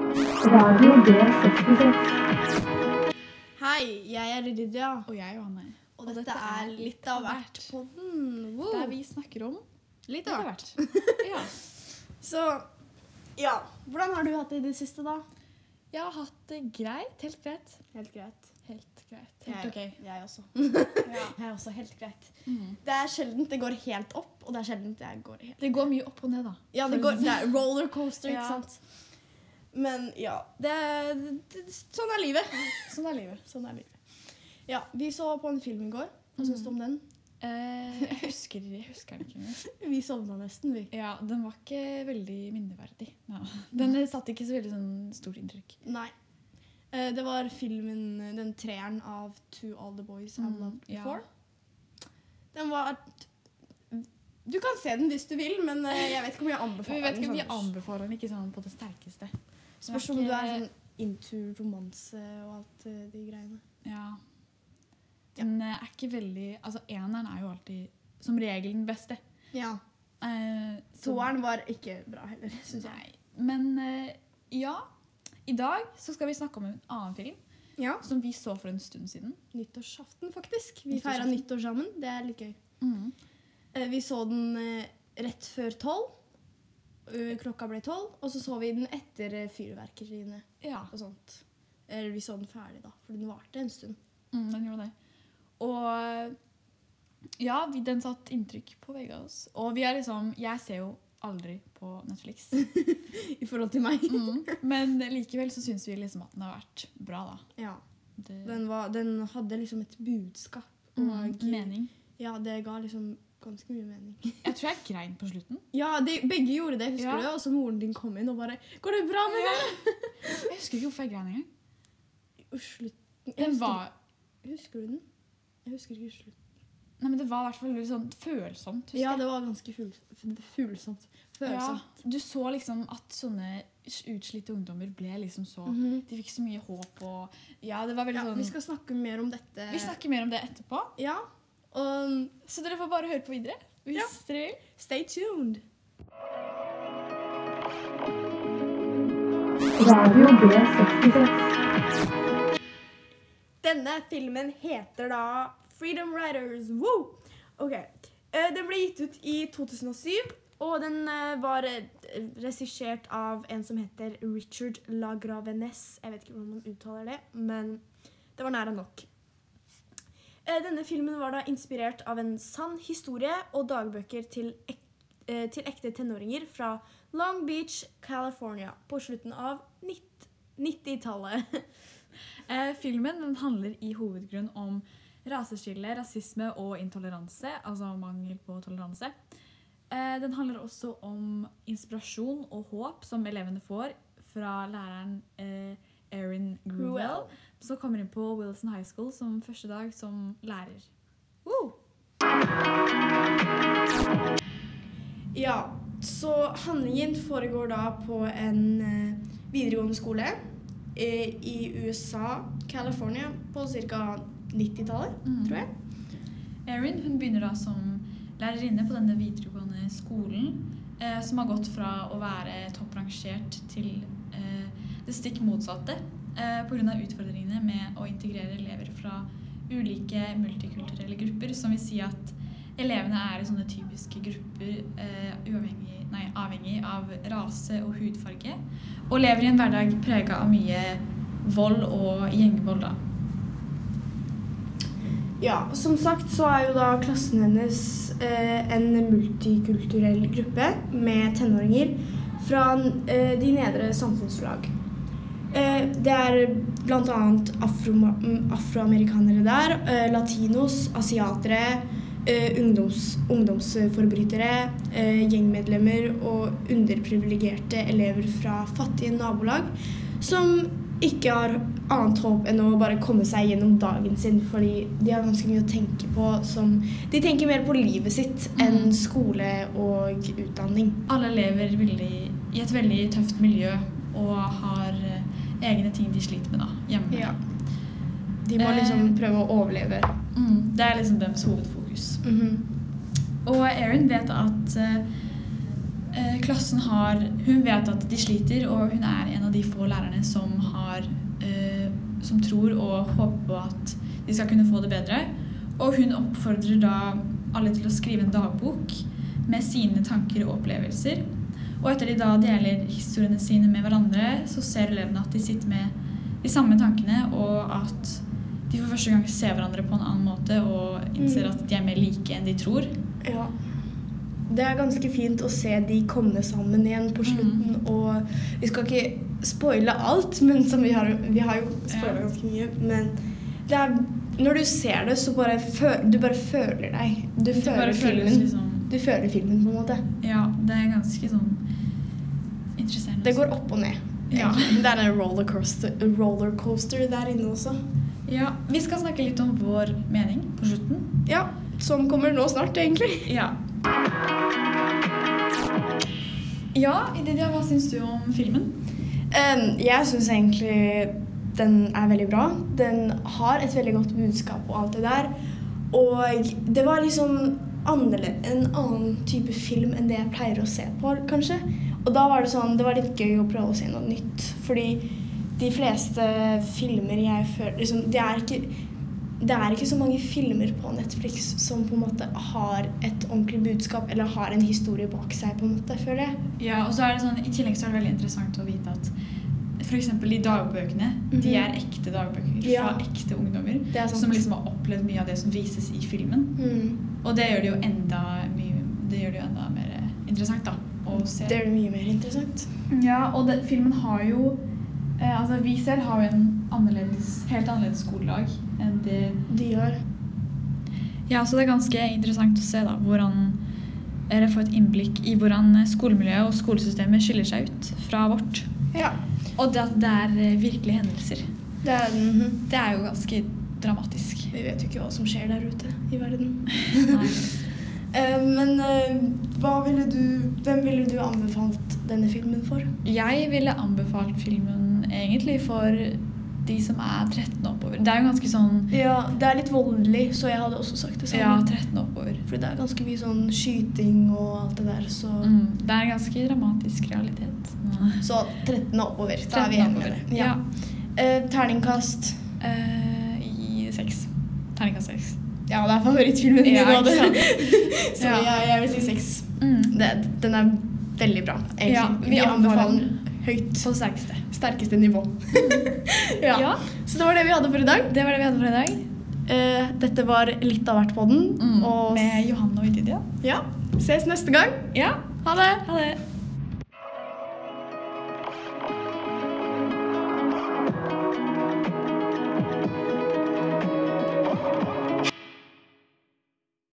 Radio B66. Hei, jeg er Lydia, Og jeg, Johanne. og dette er Litt av hvert-podden. Der Wow. vi snakker om Litt litt av av hvert. hvert. Ja. Så ja, hvordan har du hatt det i det siste, da? Jeg har hatt det greit. Helt greit. Helt greit. Helt greit. Jeg, Helt ok. jeg også. Jeg er også helt greit. Det er sjelden det går helt opp, og det er sjelden det går helt Det går mye opp og ned, da. Ja, det, går, det er rollercoaster, ikke Ja. sant? Men ja det, er- det, Sånn er livet. Sånn er livet. Sånn er livet. Ja, vi så på en film i går. Hva syns du om den? Eh, jeg husker jeg husker den ikke engang. Mm. Vi sovna nesten, vi. Ja, den var ikke veldig minneverdig. Ja. Den satte ikke så veldig sånn stort inntrykk. Nei. Eh, Det var filmen, eh, den treeren av To All The Boys I've Mm, Loved ja. Before. Den var Du kan se den hvis du vil, men eh, jeg vet ikke om jeg Vi anbefaler vet den. ikke om vi sånn. anbefaler den ikke sånn på det sterkeste. Spørs om du er sånn into romanse og alt eh, de greiene. Ja. Ja. Den eh, er ikke veldig Altså, eneren er jo alltid som regel den beste. Ja. Eh, så- Toeren var ikke bra heller, syns jeg. Nei. Men eh, ja. I dag så skal vi snakke om en annen film Ja. som vi så for en stund siden. Nyttårsaften, faktisk. Vi Nyttårsaften. feira nyttår sammen. Det er litt gøy. Eh, Vi så den eh, rett før tolv. Eh, Klokka ble tolv, og så så vi den etter eh, fyrverkeriene. Ja, og sånt. Eller vi så den ferdig, da, for den varte en stund. mm, den gjorde det. Og ja, vi, den satt inntrykk på begge av oss. Og vi er liksom Jeg ser jo aldri på Netflix. I forhold til meg. Mm. Men likevel så syns vi liksom at den har vært bra, da. Ja, Det, den, var, den hadde liksom et budskap. mm, mening. Ja, det ga liksom ganske mye mening. Jeg tror jeg grein på slutten. Ja, de, begge gjorde det, husker Ja. du? Og så moren din kom inn og bare 'Går det bra med deg?' Jeg husker ikke hvorfor jeg grein engang. Og slutten jeg Den husker, var husker du den? Jeg husker ikke slutten. Nei, men Det var i hvert fall litt sånn følsomt. husker Ja, jeg. det var ganske fugl- fuglsomt. Følsomt. Ja, du så liksom at sånne utslitte ungdommer ble liksom så Mhm. De fikk så mye håp og Ja, det var veldig Ja, sånn vi skal snakke mer om dette. vi snakker mer om det etterpå, Ja, og så dere får bare høre på videre. Hvis Ja. dere vil. stay tuned. Radio B66. Denne filmen heter da Freedom Riders. Woo! Ok. Eh, Den ble gitt ut i 2007, og den eh, var eh, regissert av en som heter Richard Lagravenes. Jeg vet ikke hvordan man uttaler det, men det var nære nok. Eh, Denne filmen var da inspirert av en sann historie og dagbøker til, ek eh, til ekte tenåringer fra Long Beach, California på slutten av nitt- 90-tallet. Eh, filmen den handler i hovedgrunn om raseskille, rasisme og intoleranse. Altså mangel på toleranse. Eh, den handler også om inspirasjon og håp som elevene får fra læreren eh, Erin Gruel, Gruel. som kommer inn på Wilson High School som første dag som lærer. Woo! Ja, så handlingen foregår da på en eh, videregående skole eh, i USA, California, på ca. 90-tallet, Mhm. tror jeg. Erin hun begynner da som lærerinne på denne videregående skolen, eh, som har gått fra å være topprangert til eh, det stikk motsatte eh, pga. utfordringene med å integrere elever fra ulike multikulturelle grupper, som vil si at elevene er i sånne typiske grupper eh, uavhengig, nei, avhengig av rase og hudfarge, og lever i en hverdag prega av mye vold og gjengvold. da. Ja, som sagt så er jo da klassen hennes eh, en multikulturell gruppe med tenåringer fra eh, de nedre samfunnslag. Eh, det er bl.a. Afro, mm, afroamerikanere der, eh, latinos, asiatere, eh, ungdoms, ungdomsforbrytere, eh, gjengmedlemmer og underprivilegerte elever fra fattige nabolag som ikke har annet håp enn å bare komme seg gjennom dagen sin, fordi de har ganske mye å tenke på som De tenker mer på livet sitt enn skole og utdanning. Alle lever veldig, i et veldig tøft miljø og har eh, egne ting de sliter med da, hjemme. De må liksom prøve å overleve. Mm, det er liksom deres hovedfokus. Mhm. Og Erin vet at eh, Eh, Klassen har Hun vet at de sliter, og hun er en av de få lærerne som har eh, Som tror og håper på at de skal kunne få det bedre. Og hun oppfordrer da alle til å skrive en dagbok med sine tanker og opplevelser. Og etter de da deler historiene sine med hverandre, så ser elevene at de sitter med de samme tankene, og at de for første gang ser hverandre på en annen måte og innser Mm. at de er mer like enn de tror. Ja. Det er ganske fint å se de komme sammen igjen på slutten. Og vi skal ikke spoile alt, men som vi, har, vi har jo spoila Ja. ganske mye. Men det er, når du ser det, så bare føler du bare føler deg. Du Det bare føler føles filmen. liksom Du føler filmen, på en måte. Ja, det er ganske sånn interesserende. Det går opp og ned. Ja. egentlig. Det er en rollercoaster, rollercoaster der inne også. Ja, Vi skal snakke litt om vår mening på slutten. Ja, som kommer nå snart, egentlig. Ja. Ja, Ididia, hva syns du om filmen? Em, jeg syns egentlig den er veldig bra. Den har et veldig godt budskap og alt det der. Og det var liksom annerle- en annen type film enn det jeg pleier å se på, kanskje. Og da var det sånn, det var litt gøy å prøve å se noe nytt. Fordi de fleste filmer jeg føler liksom, det, er ikke, det er ikke så mange filmer på Netflix som på en måte har et ordentlig budskap eller har en historie bak seg, på en måte, føler jeg. Ja, og så er det sånn, I tillegg så er det veldig interessant å vite at f.eks. de dagbøkene de Mhm. er ekte dagbøker Ja. fra ekte ungdommer Det er sant. som liksom har opplevd mye av det som vises i filmen. Mm. Og det gjør det jo enda, mye, det gjør det jo enda mer eh, interessant da, å se. Det gjør det mye mer interessant. Ja, og det, filmen har jo eh, Altså, vi selv har jo en annerledes, helt annerledes skoledag enn det De gjør. Ja, så det er ganske interessant å se da hvordan Eller få et innblikk i hvordan skolemiljøet og skolesystemet skiller seg ut fra vårt. Ja. Og det at det er eh, virkelige hendelser. Det er, mhm. Det er jo ganske dramatisk. Vi vet jo ikke hva som skjer der ute i verden. Nei. Eh, men eh, hva ville du, hvem ville du anbefalt denne filmen for? Jeg ville anbefalt filmen egentlig for de som er 13 oppover. Det er jo ganske sånn Ja, Det er litt voldelig, så jeg hadde også sagt det samme. Ja, 13 oppover. For det er ganske mye sånn skyting og alt det der, så, Mm, det er en ganske dramatisk realitet. så 13 og oppover. Da er 13 vi enige med oppover. det. Ja. Eh, terningkast. Eh, I seks. Terningkast seks. Ja, det er favorittfilmen min. Ja, nå, det. ikke sant? så Ja. jeg, jeg vil si seks. Mm. Det, den er veldig bra, egentlig. Ja, vi vi, anbefaler anbefaler den høyt. På sterkeste. Sterkeste nivå. ja. Ja. Så det var det vi hadde for i dag. Det var det vi hadde for i dag. Eh, dette var litt av hvert på den. Og Mm. Og med Johanne og Ididia. ja, ses neste gang. Ja. Ha det! Ha det.